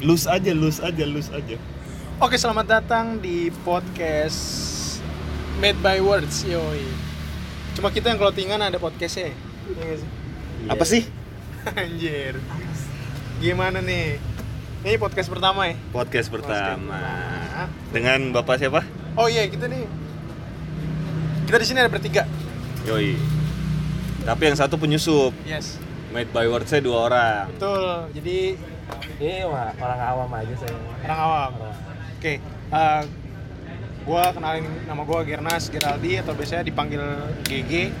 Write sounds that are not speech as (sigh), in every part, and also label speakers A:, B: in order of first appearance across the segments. A: Lose aja, lose aja, lose aja.
B: Oke, selamat datang di podcast Made by Words, yoi. Cuma kita yang clothingan ada podcastnya. Iya nggak sih? (laughs)
C: Apa sih?
B: Anjir. Gimana nih? Ini podcast pertama ya?
A: Podcast pertama.
B: pertama.
A: Dengan Bapak siapa?
B: Oh iya, kita nih. Kita di sini ada bertiga.
A: Yoi. Tapi yang satu penyusup.
B: Yes.
A: Made by word saya dua orang.
B: Betul. Jadi
C: Iya, mah orang awam aja saya.
B: orang awam. Oke. eh, gua kenalin nama gua Gernas Geraldi atau biasanya dipanggil GG.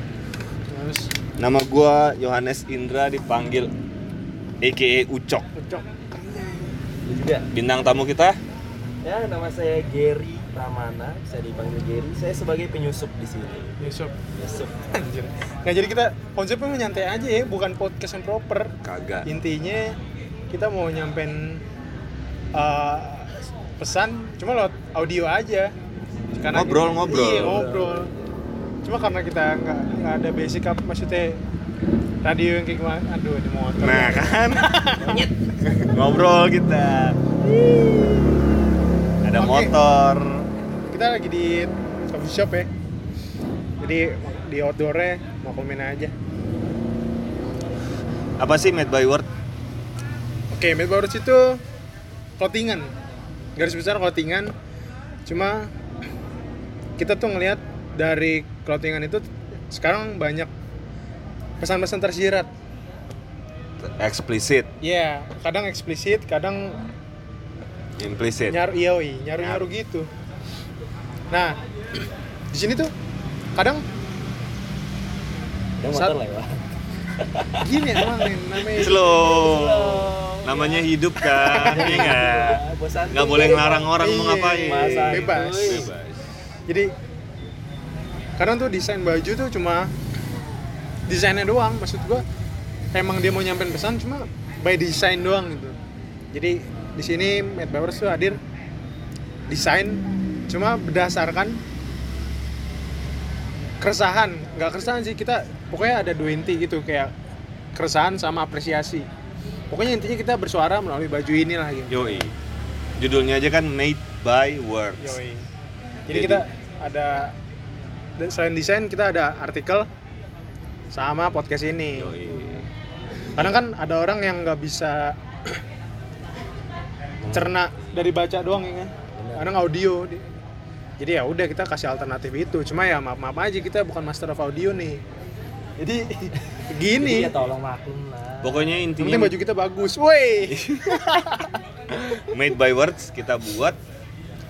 B: Terus
A: Nama gua Yohanes Indra dipanggil AKA Ucok.
B: Ucok.
C: Itu juga.
A: Bintang tamu kita
C: Ya, nama saya Gary Pramana, bisa dipanggil Gary. Saya sebagai penyusup di sini.
B: Yusuf.
C: Penyusup.
B: Anjir. Nah jadi kita konsepnya mau nyantai aja ya, bukan podcast yang proper.
A: kagak.
B: Intinya kita mau nyampein eh, pesan, cuma lewat audio aja.
A: Ngobrol, ngobrol.
B: Iya ngobrol. Cuma karena kita nggak nggak ada basic apa maksudnya radio yang kayak gimana? Aduh ini motor.
A: Nah kan. (laughs) Ngobrol kita. Ada
B: Oke.
A: motor.
B: Kita lagi di coffee shop ya. Jadi di outdoornya maklumin aja.
A: Apa sih made by word?
B: Oke, Made by Words itu clothingan. Garis besar clothingan. Cuma kita tuh ngelihat dari clothingan itu sekarang banyak pesan-pesan tersirat.
A: Eksplisit,
B: Ya, kadang eksplisit, kadang
A: implisit.
B: nyaru ioi, nyaru-nyaru gitu. Nah, di sini tuh kadang
C: Ada
B: Sat-
C: motor lewat.
B: gini emang nih, namanya
A: Slow.
C: Slow.
A: Namanya hidup kan, iya nggak?
C: Ya, bos santuy.
A: Nggak boleh ngelarang orang mau
B: Iya.
A: ngapain.
C: Masa
B: Bebas.
C: itu, ih.
A: Bebas.
B: Jadi kadang tuh desain baju tuh cuma desainnya doang, maksud gua emang dia mau nyampein pesan cuma by design doang gitu. Jadi di sini Mad Bowers tuh hadir desain cuma berdasarkan keresahan, nggak keresahan sih kita pokoknya ada dua inti gitu kayak keresahan sama apresiasi. Pokoknya intinya kita bersuara melalui baju inilah gitu.
A: Yoi. Judulnya aja kan made by words.
B: Yoi. Jadi,
A: Jadi-
B: kita ada dan selain desain kita ada artikel sama podcast ini.
A: Yoi.
B: Kadang kan ada orang yang nggak bisa cerna dari baca doang ya kan. Kadang audio. di- Jadi ya udah kita kasih alternatif itu. Cuma ya maaf-maaf aja kita bukan master of audio nih. Jadi (laughs)
C: Jadi
B: gini.
C: ya tolong maklum lah.
A: Pokoknya
B: yang penting
A: intinya
B: baju kita bagus. Woi.
A: made by words kita buat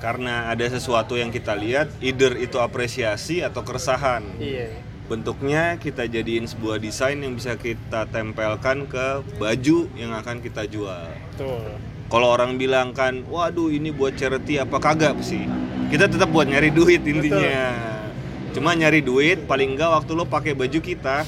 A: karena ada sesuatu yang kita lihat, either itu apresiasi atau keresahan.
B: iya.
A: Bentuknya kita jadiin sebuah desain yang bisa kita tempelkan ke baju yang akan kita jual.
B: Tuh.
A: Kalau orang bilang kan, waduh ini buat charity apa kagak sih? Kita tetap buat nyari duit intinya. Cuma nyari duit, paling enggak waktu lo pakai baju kita,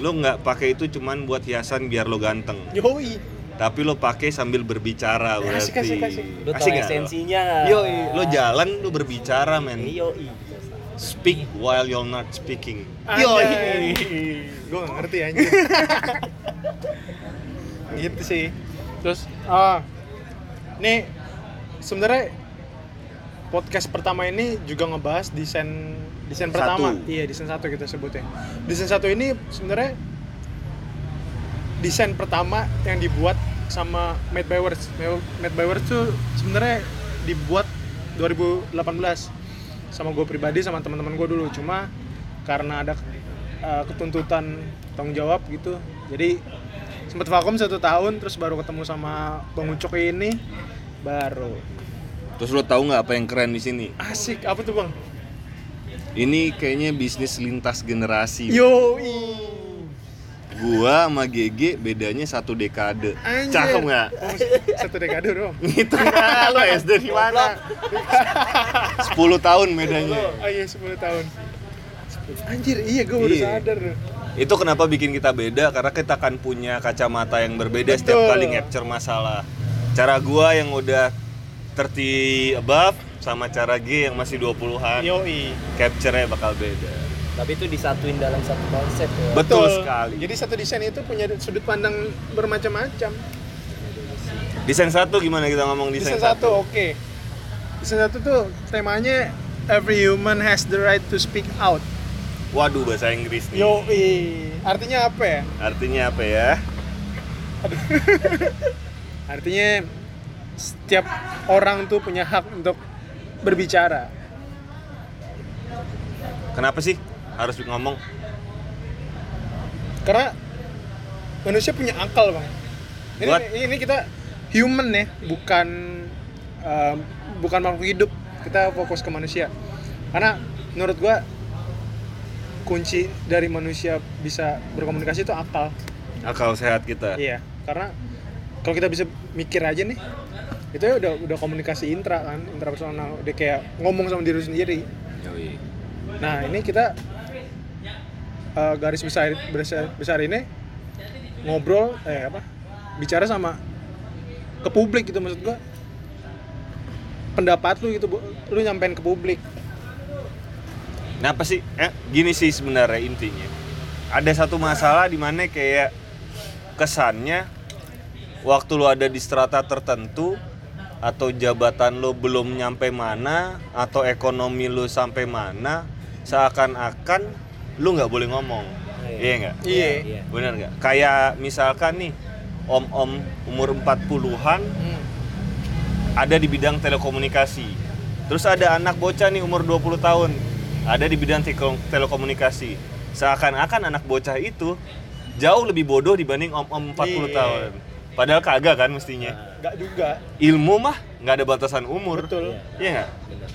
A: lo nggak pakai itu cuman buat hiasan biar lo ganteng.
B: Yoi.
A: Tapi lo pakai sambil berbicara berarti.
B: Asik, asik, asik.
C: Lu tahu
A: nggak
C: esensinya. Eh,
A: Yo, lo jalan lo berbicara
B: Iya.
A: men.
C: Yo,
A: Speak while you're not speaking.
B: Yoi. Gue gak iya. ngerti (laughs) anjir. gitu sih. Terus ah nih sebenarnya podcast pertama ini juga ngebahas desain desain pertama.
A: Satu.
B: Iya, desain satu kita sebutnya. Desain satu ini sebenarnya desain pertama yang dibuat sama Made by Words. Made by Words tuh sebenarnya dibuat 2018 sama gue pribadi sama teman-teman gue dulu. Cuma karena ada uh, ketuntutan tanggung jawab gitu, jadi sempet vakum satu tahun terus baru ketemu sama Bang Ucok ini baru
A: Terus lo tahu nggak apa yang keren di sini?
B: asik apa tuh bang?
A: Ini kayaknya bisnis lintas generasi.
B: Yoi (laughs)
A: Gua sama GG bedanya satu dekade.
B: Anjir.
A: Cakep nggak? Gitu kan?
B: satu dekade dong.
A: Itu nggak lo SD di mana? 10 tahun bedanya.
B: Oh iya 10 tahun. Anjir, iya gue baru
A: Iya.
B: sadar. tuh.
A: Itu kenapa bikin kita beda karena kita akan punya kacamata yang berbeda setiap
B: Betul.
A: kali capture masalah. Cara gua yang udah 30 above sama cara G yang masih 20-an,
B: Yoi.
A: capture-nya bakal beda.
C: Tapi itu disatuin dalam satu konsep ya.
A: Betul sekali.
B: Jadi satu desain itu punya sudut pandang bermacam-macam.
A: Desain satu gimana kita ngomong desain,
B: Desain satu, oke. Desain satu tuh temanya every human has the right to speak out.
A: Waduh bahasa Inggris nih.
B: Yo, artinya apa ya?
A: Artinya apa ya?
B: Artinya setiap orang tuh punya hak untuk berbicara.
A: Kenapa sih harus ngomong?
B: Karena manusia punya akal, Bang. Ini
A: Buat-
B: ini kita human ya, bukan um, bukan makhluk hidup. Kita fokus ke manusia. Karena menurut gua kunci dari manusia bisa berkomunikasi itu akal.
A: Akal sehat kita.
B: Iya, karena kalau kita bisa mikir aja nih, itu ya udah udah komunikasi intra kan, intrapersonal, udah kayak ngomong sama diri sendiri.
A: Yoi.
B: Nah ini kita eh, garis besar, besar besar ini ngobrol eh apa bicara sama ke publik gitu maksud gua pendapat lu gitu Bu. lu nyampein ke publik
A: Kenapa sih? Eh, gini sih sebenarnya intinya. Ada satu masalah di mana kayak kesannya waktu lo ada di strata tertentu atau jabatan lo belum nyampe mana atau ekonomi lo sampai mana seakan-akan lo nggak boleh ngomong.
C: Iya.
A: Iya nggak?
B: Iya.
C: Iya.
A: Bener nggak? Kayak misalkan nih om-om umur 40-an
B: Hmm.
A: ada di bidang telekomunikasi. Terus ada anak bocah nih umur 20 tahun, ada di bidang teko- telekomunikasi. Seakan-akan anak bocah itu jauh lebih bodoh dibanding om-om
B: Iya.
A: 40
B: Nah.
A: tahun. Padahal kagak kan mestinya.
B: nggak juga
A: Ilmu mah nggak ada batasan umur.
B: betul
A: Iya nggak?
C: Bener.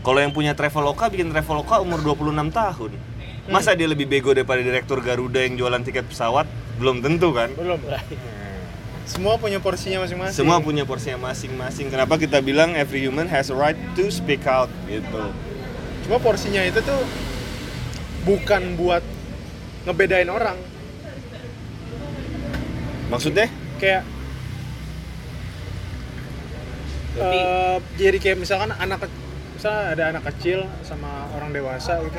A: Kalau yang punya Traveloka bikin Traveloka umur 26 tahun.
B: Hmm.
A: Masa dia lebih bego daripada direktur Garuda yang jualan tiket pesawat? Belum tentu kan?
B: belum semua punya porsinya masing-masing
A: Semua punya porsinya masing-masing. Kenapa kita bilang every human has a right to speak out gitu.
B: cuma porsinya itu tuh bukan buat ngebedain orang
A: Maksudnya?
B: kayak
C: Tapi
B: eh, jadi kayak misalkan anak ke- misalnya ada anak kecil sama orang dewasa gitu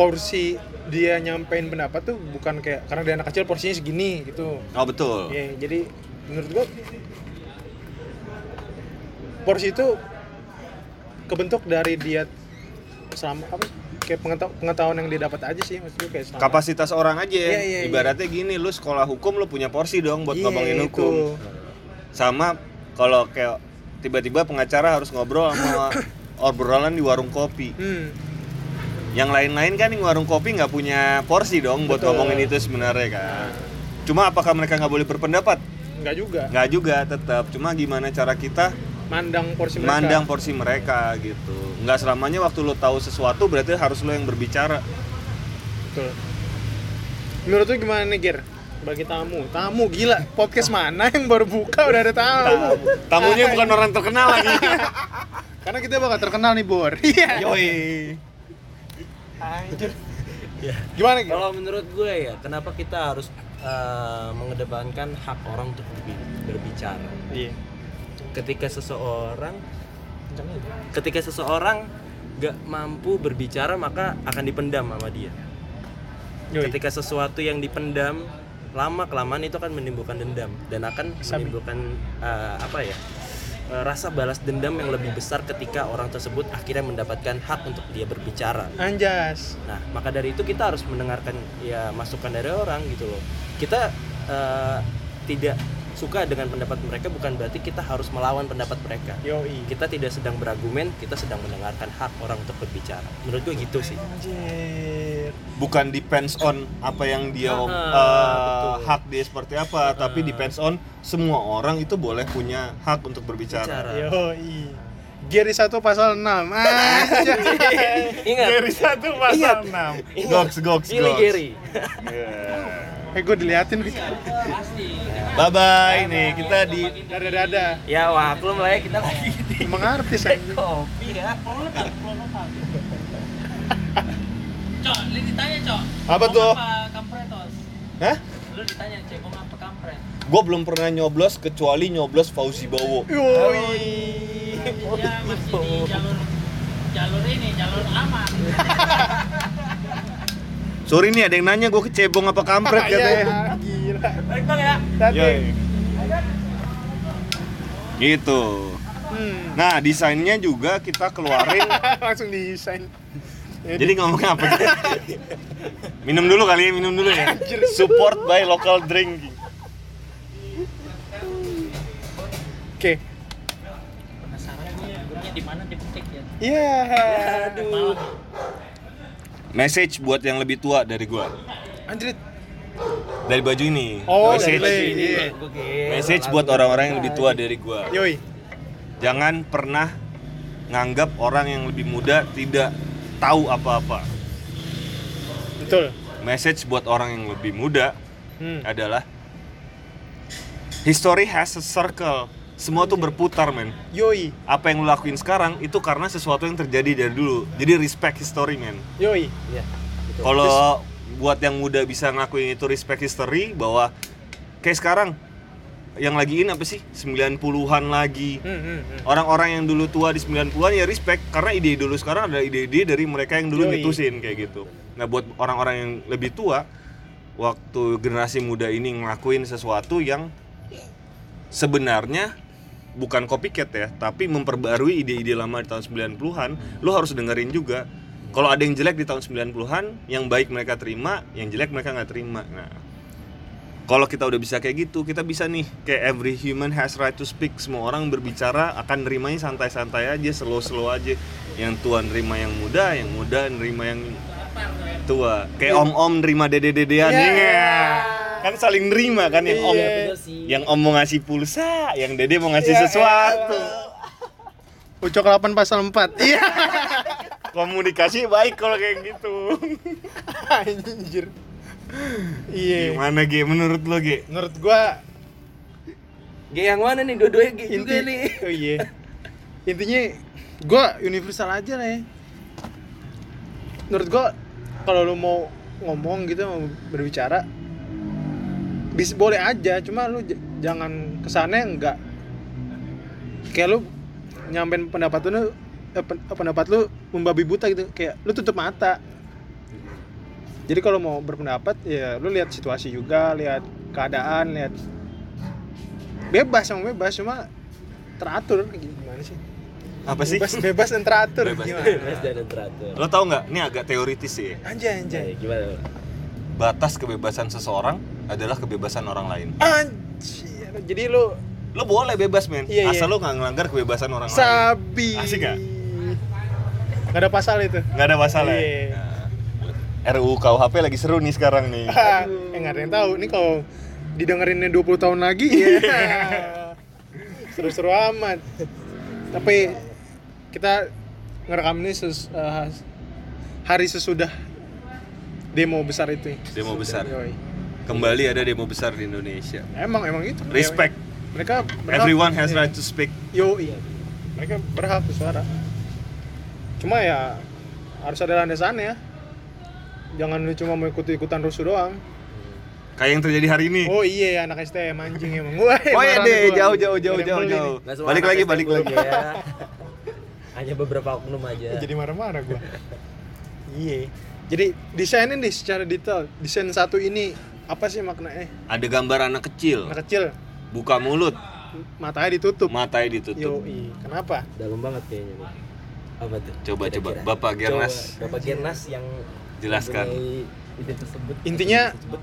B: porsi dia nyampein pendapat tuh bukan kayak karena dia anak kecil porsinya segini gitu
A: Oh betul.
B: ya jadi menurut gua porsi itu kebentuk dari dia selama apa kayak pengetahuan, pengetahuan yang dia dapat aja sih maksud gua kayak selama-
A: Kapasitas orang aja.
B: Iya, iya, iya.
A: Ibaratnya gini, lu sekolah hukum lu punya porsi dong buat
B: Iya,
A: ngomongin
B: itu.
A: hukum. Sama kalau kayak tiba-tiba pengacara harus ngobrol sama
B: (coughs)
A: obrolan di warung kopi.
B: hmm.
A: Yang lain-lain kan di warung kopi nggak punya porsi dong buat
B: Betul.
A: ngomongin itu sebenarnya kan. Cuma apakah mereka nggak boleh berpendapat?
B: nggak juga
A: Nggak juga, tetap. Cuma gimana cara kita
B: mandang porsi mereka
A: mandang porsi mereka gitu. Nggak selamanya waktu lu tahu sesuatu berarti harus lu yang berbicara.
B: Betul. Menurut lu gimana nih, Gir? Bagi tamu. Tamu gila, podcast mana yang baru buka udah ada tamu.
A: Tamunya bukan orang terkenal lagi.
B: Karena kita bakal terkenal nih, Bor. (laughs) Iya.
A: Yoi.
B: Anjir. Gimana, Gir?
C: Kalau menurut gue ya, kenapa kita harus eh, mengedepankan hak orang untuk berbi- berbicara?
B: Iya.
C: Ketika seseorang, ketika seseorang gak mampu berbicara maka akan dipendam sama dia.
B: Yoi.
C: Ketika sesuatu yang dipendam lama kelamaan itu akan menimbulkan dendam dan akan
B: Sabi.
C: menimbulkan eh, apa ya? eh, rasa balas dendam yang lebih besar ketika orang tersebut akhirnya mendapatkan hak untuk dia berbicara.
B: Anjas.
C: Nah, maka dari itu kita harus mendengarkan ya masukan dari orang gitu loh. Kita eh, tidak suka dengan pendapat mereka bukan berarti kita harus melawan pendapat mereka.
B: Yoi.
C: Kita tidak sedang berargumen, kita sedang mendengarkan hak orang untuk berbicara. Menurut gue gitu sih.
B: Anjir.
A: bukan depends on apa yang dia eh,
C: Ah, betul.
A: hak dia seperti apa tapi depends on semua orang itu boleh punya hak untuk berbicara.
C: Bicara.
B: Yoi. Giri satu pasal 6. Anjay.
C: Ingat.
A: satu pasal enam. Goks goks
C: Pilih
A: goks.
C: Iya. Gary.
B: eh, gue diliatin gitu.
A: Bye bye nih kita di
B: Dada-dada.
C: Ya maklum lah ya kita lagi di
B: Emang artis anjir.
C: kopi ya.
D: Cok, lu ditanya, Cok.
A: Apa
D: Cebong
A: tuh?
D: Apa kampretos?
A: Hah?
D: Lu ditanya, cebong apa kampret?
A: Gue belum pernah nyoblos kecuali nyoblos Fauzi Bowo.
B: Yoi.
D: Ya, masih di jalur jalur ini, jalur aman.
A: Sorry nih
B: (laughs)
A: ada yang nanya gue kecebong apa kampret
B: Iya, gila.
A: katanya. Iya,
D: Balik bang ya.
B: Tadi.
A: Yoi. gitu
B: Hmm. (laughs)
A: nah desainnya juga kita keluarin
B: Langsung desain.
A: jadi ngomong apa gitu? minum dulu kali ya minum dulu ya support by local drinking
B: Oke.
D: Penasaran gue burungnya di mana di Petek ya?
B: Iya.
D: Malam.
A: message buat yang lebih tua dari gua
B: Anjrit.
A: dari baju ini
B: Oh, dari
A: message
B: baju ini. Iya.
A: message buat
C: gitu.
A: orang-orang yang lebih tua dari gua
B: Yoi.
A: jangan pernah nganggap orang yang lebih muda tidak tahu apa-apa
B: Betul.
A: message buat orang yang lebih muda
B: Hmm.
A: adalah history has a circle semua tuh berputar men
B: Yoi.
A: apa yang lu lakuin sekarang itu karena sesuatu yang terjadi dari dulu jadi respect history men
B: Yoi.
C: Iya.
B: Gitu.
C: betul.
A: kalau buat yang muda bisa ngakuin itu respect history bahwa kayak sekarang yang lagi in apa sih 90-an lagi
B: Hmm, hmm, hmm.
A: orang-orang yang dulu tua di 90-an ya respect karena ide dulu sekarang ada ide-ide dari mereka yang dulu
B: Yoi.
A: nyetusin kayak gitu. Nah, buat orang-orang yang lebih tua waktu generasi muda ini ngelakuin sesuatu yang sebenarnya bukan copycat ya, tapi memperbarui ide-ide lama di tahun 90-an, lo harus dengerin juga. Kalau ada yang jelek di tahun 90-an, yang baik mereka terima, yang jelek mereka nggak terima. Nah, kalau kita udah bisa kayak gitu, kita bisa nih kayak every human has right to speak. Semua orang berbicara akan nerimanya santai-santai aja, slow-slow aja. Yang tua nerima yang muda, yang muda nerima yang tua. Kayak om-om nerima dede-dedean
B: Hmm. Iya.
A: iya. Kan saling nerima kan yang om.
B: Iya.
C: Bener sih.
A: Yang om mau ngasih pulsa, yang dede mau ngasih sesuatu.
B: Ucok 8 pasal 4. Iya. (laughs)
A: Komunikasi baik kalau kayak gitu.
B: Anjir. Iya.
A: Gimana Ge menurut lo Ge?
B: Menurut gua
C: G yang mana nih? Dua-duanya G juga
B: inti
C: nih.
B: oh
C: (laughs)
B: iya intinya gue universal aja lah ya menurut gue kalau lu mau ngomong gitu mau berbicara bis boleh aja cuma lu j- jangan kesannya enggak kayak lu nyampein pendapat lu eh, pen- eh, pendapat lu membabi buta gitu kayak lu tutup mata jadi kalau mau berpendapat ya lu lihat situasi juga lihat keadaan lihat bebas sama bebas cuma teratur gimana sih
A: Apa sih?
B: bebas bebas dan teratur
A: Bebas.
B: gimana
C: Bebas dan teratur.
A: Lo tau nggak? Ini agak teoritis sih.
B: anjay anjay
C: Jadi gimana? Bang?
A: Batas kebebasan seseorang adalah kebebasan orang lain.
B: anjir jadi lu
A: lo boleh bebas men
B: Iya,
A: asal
B: iya.
A: lo nggak ngelanggar kebebasan orang lain
B: sabi
A: Asik nggak?
B: Nggak ada pasal itu
A: nggak ada masalah ya?
B: Iya.
A: Nah, RUU KUHP lagi seru nih sekarang
B: (laughs)
A: nih
B: Ah, eh nggak ada yang tahu nih kalau didengerinnya 20 tahun lagi
A: Iya.
B: ya seru-seru amat tapi kita ngerekam ini ses- eh, hari sesudah demo besar itu
A: Demo besar.
B: Yoi.
A: kembali ada demo besar di Indonesia
B: emang emang itu
A: respect
B: mereka berhak-
A: everyone has
B: Iya.
A: right to speak
B: Yo iya. Mereka berhak bersuara. Cuma ya harus ada landasannya. Jangan lu cuma mau ikut-ikutan rusuh doang.
A: kayak yang terjadi hari ini
B: Oh iya anak STM anjing emang. Wah,
A: (laughs) Oh iya
B: marah
A: deh,
B: nih gua.
A: jauh jauh
B: Ada
A: jauh
B: yang
A: jauh
B: beli
A: jauh.
C: Nggak semua
A: Balik
C: anak
A: lagi,
C: STM
A: balik lagi.
C: boleh ya. Hanya beberapa oknum aja.
B: nih. Jadi marah-marah gua. iya. Jadi desainin deh secara detail. Desain satu ini apa sih maknanya?
A: Ada gambar anak kecil,
B: Anak kecil
A: buka mulut,
B: matanya ditutup.
A: matanya
B: Yo,
A: ditutup.
B: iya. Kenapa?
C: Dalam banget kayaknya nih. Apa tuh?
A: Coba coba,
C: Kira-kira.
A: Bapak Gernas
C: Coba, Bapak Gernas yang
A: Jelaskan.
C: mempunyai ide tersebut.
B: Intinya-
C: Ide tersebut.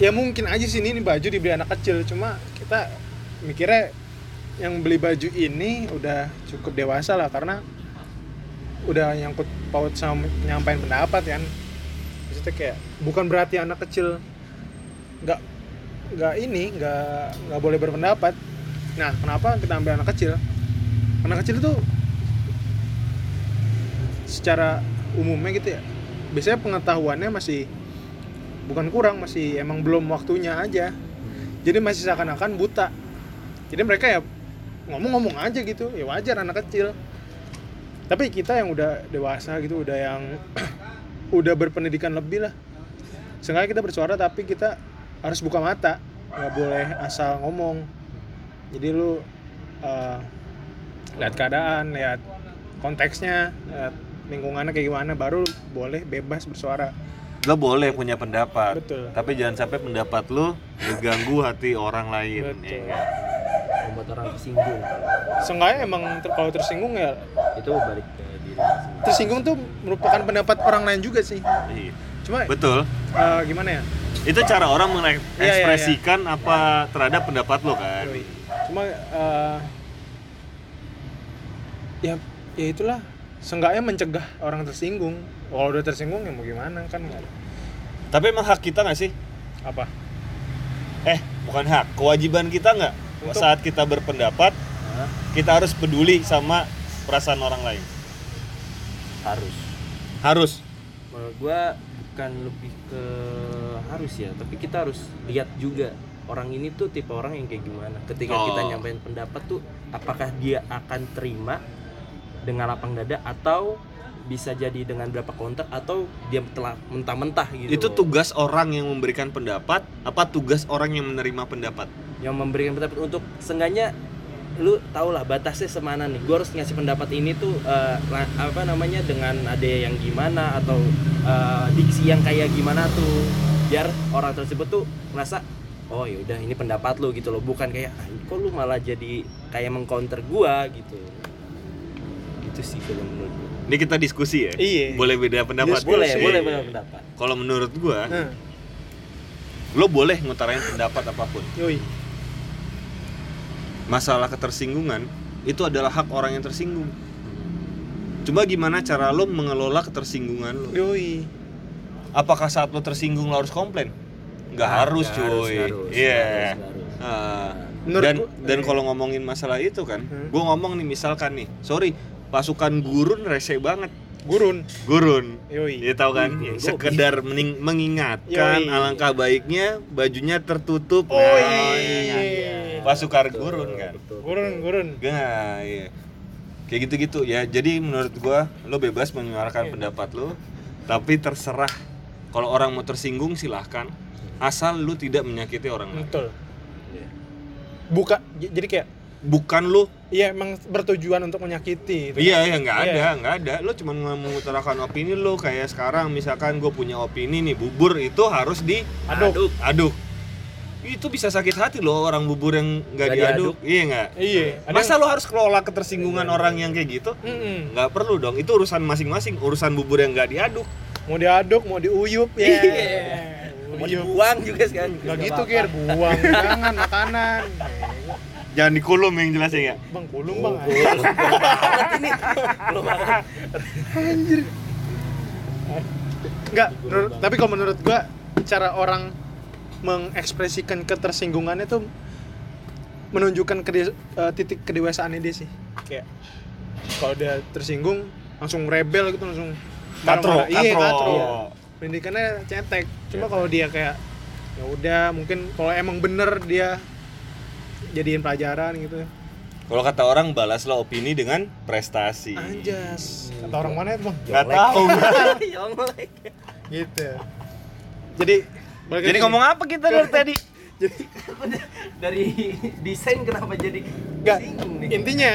B: ya mungkin aja sih ini, ini baju dibeli anak kecil cuma kita mikirnya yang beli baju ini udah cukup dewasa lah karena udah nyangkut paut sama penyampaian pendapat kan maksudnya kayak bukan berarti anak kecil nggak nggak ini nggak nggak boleh berpendapat nah kenapa kita ambil anak kecil anak kecil itu secara umumnya gitu ya biasanya pengetahuannya masih bukan kurang masih emang belum waktunya aja jadi masih seakan-akan buta jadi mereka ya ngomong-ngomong aja gitu ya wajar anak kecil tapi kita yang udah dewasa gitu udah yang (clears throat) udah berpendidikan lebih lah seenggaknya kita bersuara tapi kita harus buka mata nggak boleh asal ngomong jadi lu eh, lihat keadaan lihat konteksnya lihat lingkungannya kayak gimana baru boleh bebas bersuara
A: Lo boleh punya pendapat,
B: Betul.
A: tapi jangan sampai pendapat lo mengganggu hati orang lain.
B: Betul.
A: ya nggak?
C: membuat orang tersinggung
B: Seenggaknya emang ter- kalau tersinggung ya
C: itu balik ke diri sendiri
B: tersinggung tuh merupakan pendapat orang lain juga sih.
A: Iya.
B: Cuma
A: Betul.
B: eh, gimana ya?
A: Itu cara orang
B: Iya, iya,
A: mengekspresikan apa terhadap pendapat lo kan.
B: Yoi. Cuma eh, ya ya itulah seenggaknya mencegah orang tersinggung. Kalau udah tersinggung ya mau gimana kan nggak ada.
A: Tapi emang hak kita nggak sih?
B: apa?
A: Eh, bukan hak, kewajiban kita nggak
B: Untuk-
A: saat kita berpendapat kita harus peduli sama perasaan orang lain.
C: harus
A: Harus.
C: menurut gua bukan lebih ke harus ya tapi kita harus lihat juga orang ini tuh tipe orang yang kayak gimana ketika
A: Oh.
C: kita nyampein pendapat tuh apakah dia akan terima dengan lapang dada atau bisa jadi dengan berapa kontak atau dia telah mentah-mentah gitu
A: Itu
C: loh.
A: tugas orang yang memberikan pendapat, apa tugas orang yang menerima pendapat?
C: yang memberikan pendapat untuk seenggaknya lu tau lah batasnya semana nih gue harus ngasih pendapat ini tuh eh, la- apa namanya dengan ada yang gimana atau eh, diksi yang kayak gimana tuh biar orang tersebut tuh merasa oh ya udah ini pendapat lu gitu loh bukan kayak "Ah, kok lu malah jadi kayak mengcounter gua gitu itu sih kalau menurut gua.
A: Ini kita diskusi ya.
B: Iya.
A: Boleh beda pendapat.
C: boleh
A: Iya.
C: boleh boleh pendapat
A: Kalau menurut gua,
B: Nah,
A: lo boleh ngutarain pendapat apapun.
B: yoi.
A: Masalah ketersinggungan itu adalah hak orang yang tersinggung. Cuma gimana cara lo mengelola ketersinggungan lo?
B: Yoi.
A: Apakah saat lo tersinggung lo harus komplain? Nggak
C: Nggak
A: harus,
C: harus,
A: cuy.
C: nggak harus,
A: Iya.
C: nggak harus, nggak harus.
A: Ah,
B: Menurut
A: dan
B: gua-
A: dan kalau ngomongin masalah itu kan,
B: Hmm.
A: gua ngomong nih misalkan nih, sorry, pasukan gurun rese banget.
B: Gurun.
A: Gurun.
B: Yoi.
A: Iya tahu kan,
C: Iya, gua-
A: sekedar mening- mengingatkan
B: Hmm, Yoi.
A: alangkah baiknya bajunya tertutup.
B: Oh,
A: Nah,
B: iya.
A: Pasukan gurun kan.
B: Gurun, gurun.
A: Nah, iya. Kayak gitu-gitu ya. Jadi menurut gua lo bebas menyuarakan pendapat lo, tapi terserah kalau orang mau tersinggung silahkan asal lu tidak menyakiti orang lain.
B: Betul. Buka j- jadi kayak
A: Bukan lu
B: Iya emang bertujuan untuk menyakiti. gitu.
A: Iya, iya nggak
B: Iya.
A: ada, nggak ada. Lo cuma mengutarakan opini lo kayak sekarang misalkan gue punya opini nih bubur itu harus di
B: Aduk.
A: Aduh. Itu bisa sakit hati loh orang bubur yang nggak
C: Nggak
A: diaduk.
C: diaduk.
A: Iya nggak?
B: Iya. Ada
A: Masa lo harus kelola ketersinggungan orang yang kayak gitu?
B: yang- Mm-mm.
A: Nggak perlu dong. Itu urusan masing-masing. Urusan bubur yang nggak diaduk.
B: mau diaduk, mau diuyup ya.
C: Iya. mau
B: Uyup.
C: dibuang juga sekarang
B: Gak gitu kir, buang jangan makanan.
A: Jangan dikulum yang jelasnya ya.
B: Bang kulung bang. Anjir. Enggak, menurut- tapi kalau menurut gua cara orang mengekspresikan ketersinggungannya tuh menunjukkan kede- eh, titik kedewasaannya dia sih. Kayak kalau dia tersinggung langsung rebel gitu langsung
A: Katro,
B: marah-marah. Iya,
A: katro.
B: katro. Pendidikannya cetek. Cuma kalau dia kayak ya udah mungkin kalau emang bener dia jadiin pelajaran gitu.
A: Kalau kata orang balaslah opini dengan prestasi.
B: Anjas. Hmm. Kata orang mana itu, Bang?
A: Nggak tahu.
C: (laughs) Yonglek.
B: Gitu. Jadi balik
A: (laughs) Jadi
B: lagi.
A: ngomong apa kita dari tadi?
C: dari desain kenapa jadi
B: Nggak,
C: singgung nih?
B: intinya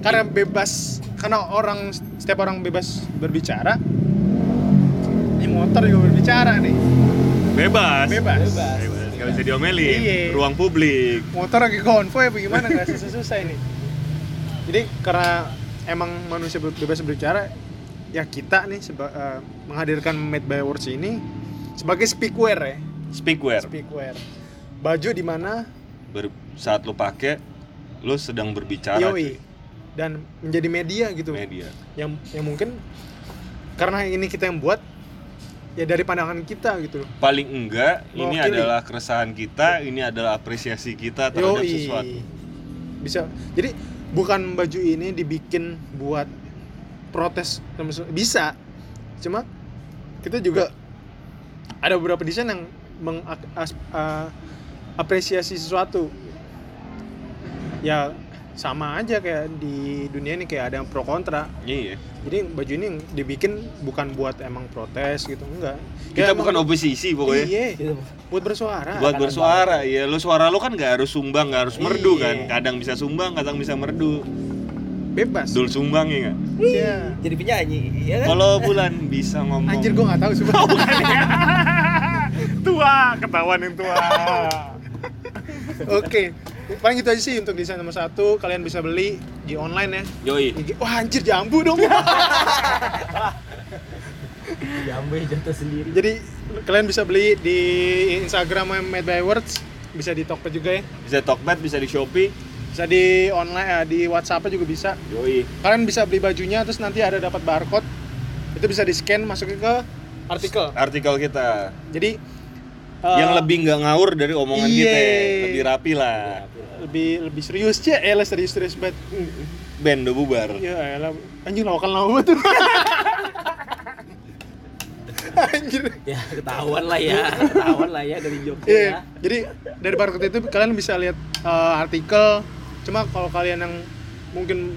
B: karena bebas karena orang setiap orang bebas berbicara ini motor juga berbicara nih
A: Bebas.
B: bebas,
A: Bebas. Nggak bisa diomelin.
B: Iya.
A: Ruang publik.
B: motor lagi konvoy apa gimana nggak susah-susah ini jadi karena emang manusia be- bebas berbicara ya kita nih seba- eh, menghadirkan Made by Words ini sebagai speakware ya
A: Speakware.
B: speakware baju di mana
A: Ber- saat lo pakai, lo sedang berbicara.
B: yoi dan menjadi media gitu
A: Media.
B: yang yang mungkin karena ini kita yang buat ya dari pandangan kita gitu loh
A: paling enggak ini
B: Mewakili.
A: adalah keresahan kita, ini adalah apresiasi kita terhadap
B: Yoi.
A: sesuatu.
B: bisa jadi bukan baju ini dibikin buat protes sama se- bisa cuma kita juga ada beberapa desain yang mengapresiasi sesuatu ya sama aja kayak di dunia ini kayak ada yang pro kontra
A: Iya.
B: jadi baju ini yang dibikin bukan buat emang protes gitu enggak Ya,
A: Kita bukan
B: emang-
A: oposisi pokoknya.
B: Iya, buat bersuara.
A: Buat bersuara, ya lu suara lu kan nggak harus sumbang, nggak harus merdu
B: Iya.
A: kan. Kadang bisa sumbang, kadang bisa merdu.
B: bebas.
A: Dul sumbang ya nggak?
B: Iya.
E: jadi penyanyi ya kan
A: Kalau bulan bisa ngomong.
B: Anjir gua nggak tahu
A: Oh,
B: sumpah.
A: ya. tua, ketahuan yang tua.
B: Oke. paling gitu aja sih untuk desain nomor satu kalian bisa beli di online ya
A: Yoi.
B: Di- wah anjir jambu
A: (laughs)
B: dong
F: Jambe Iya, jatuh sendiri.
B: jadi kalian bisa beli di Instagram Made by Words bisa di Tokped juga ya
A: Bisa Tokped, bisa di Shopee.
B: bisa di online eh, di WhatsApp juga bisa
A: Yoi.
B: kalian bisa beli bajunya terus nanti ada dapat barcode itu bisa di scan masukin ke artikel
A: Artikel kita
B: jadi eh,
A: yang lebih nggak ngaur dari omongan
B: iye.
A: kita, ya. lebih rapi lah.
B: lebih lebih serius sih eh lah serius serius banget
F: Hmm.
B: Iya.
A: Band udah bubar.
B: ya elah anjing lawakan
F: (laughs)
B: lawak tuh anjir
F: Ya ketahuan lah ya, ketahuan lah ya dari Jogja.
B: Iya, jadi dari barcode itu kalian bisa lihat eh, artikel. Cuma kalau kalian yang mungkin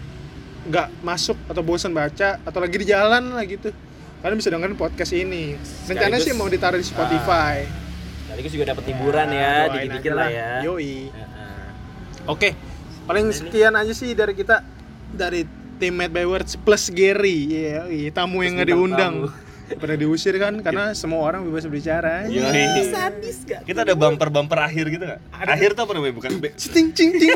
B: nggak masuk atau bosan baca atau lagi di jalan lah gitu, kalian bisa dengerin podcast ini. Rencananya
F: Sekaligus-
B: sih mau ditaruh di Spotify. Nah,
F: Sekaligus Nah, juga dapat hiburan ya,
B: doain
F: dikit-dikit
B: aja
F: lah ya.
B: Yoi.
F: Heeh.
B: Oke, paling sekian aja sih dari kita Nah, dari teammate by Words plus Gary, Yoi, tamu yang nggak diundang. Pada diusir kan karena semua orang bebas berbicara.
A: Yoi. Kita ada bumper-bumper akhir gitu nggak? Akhir tuh apa namanya? Bukan be-
B: Cing cing cing.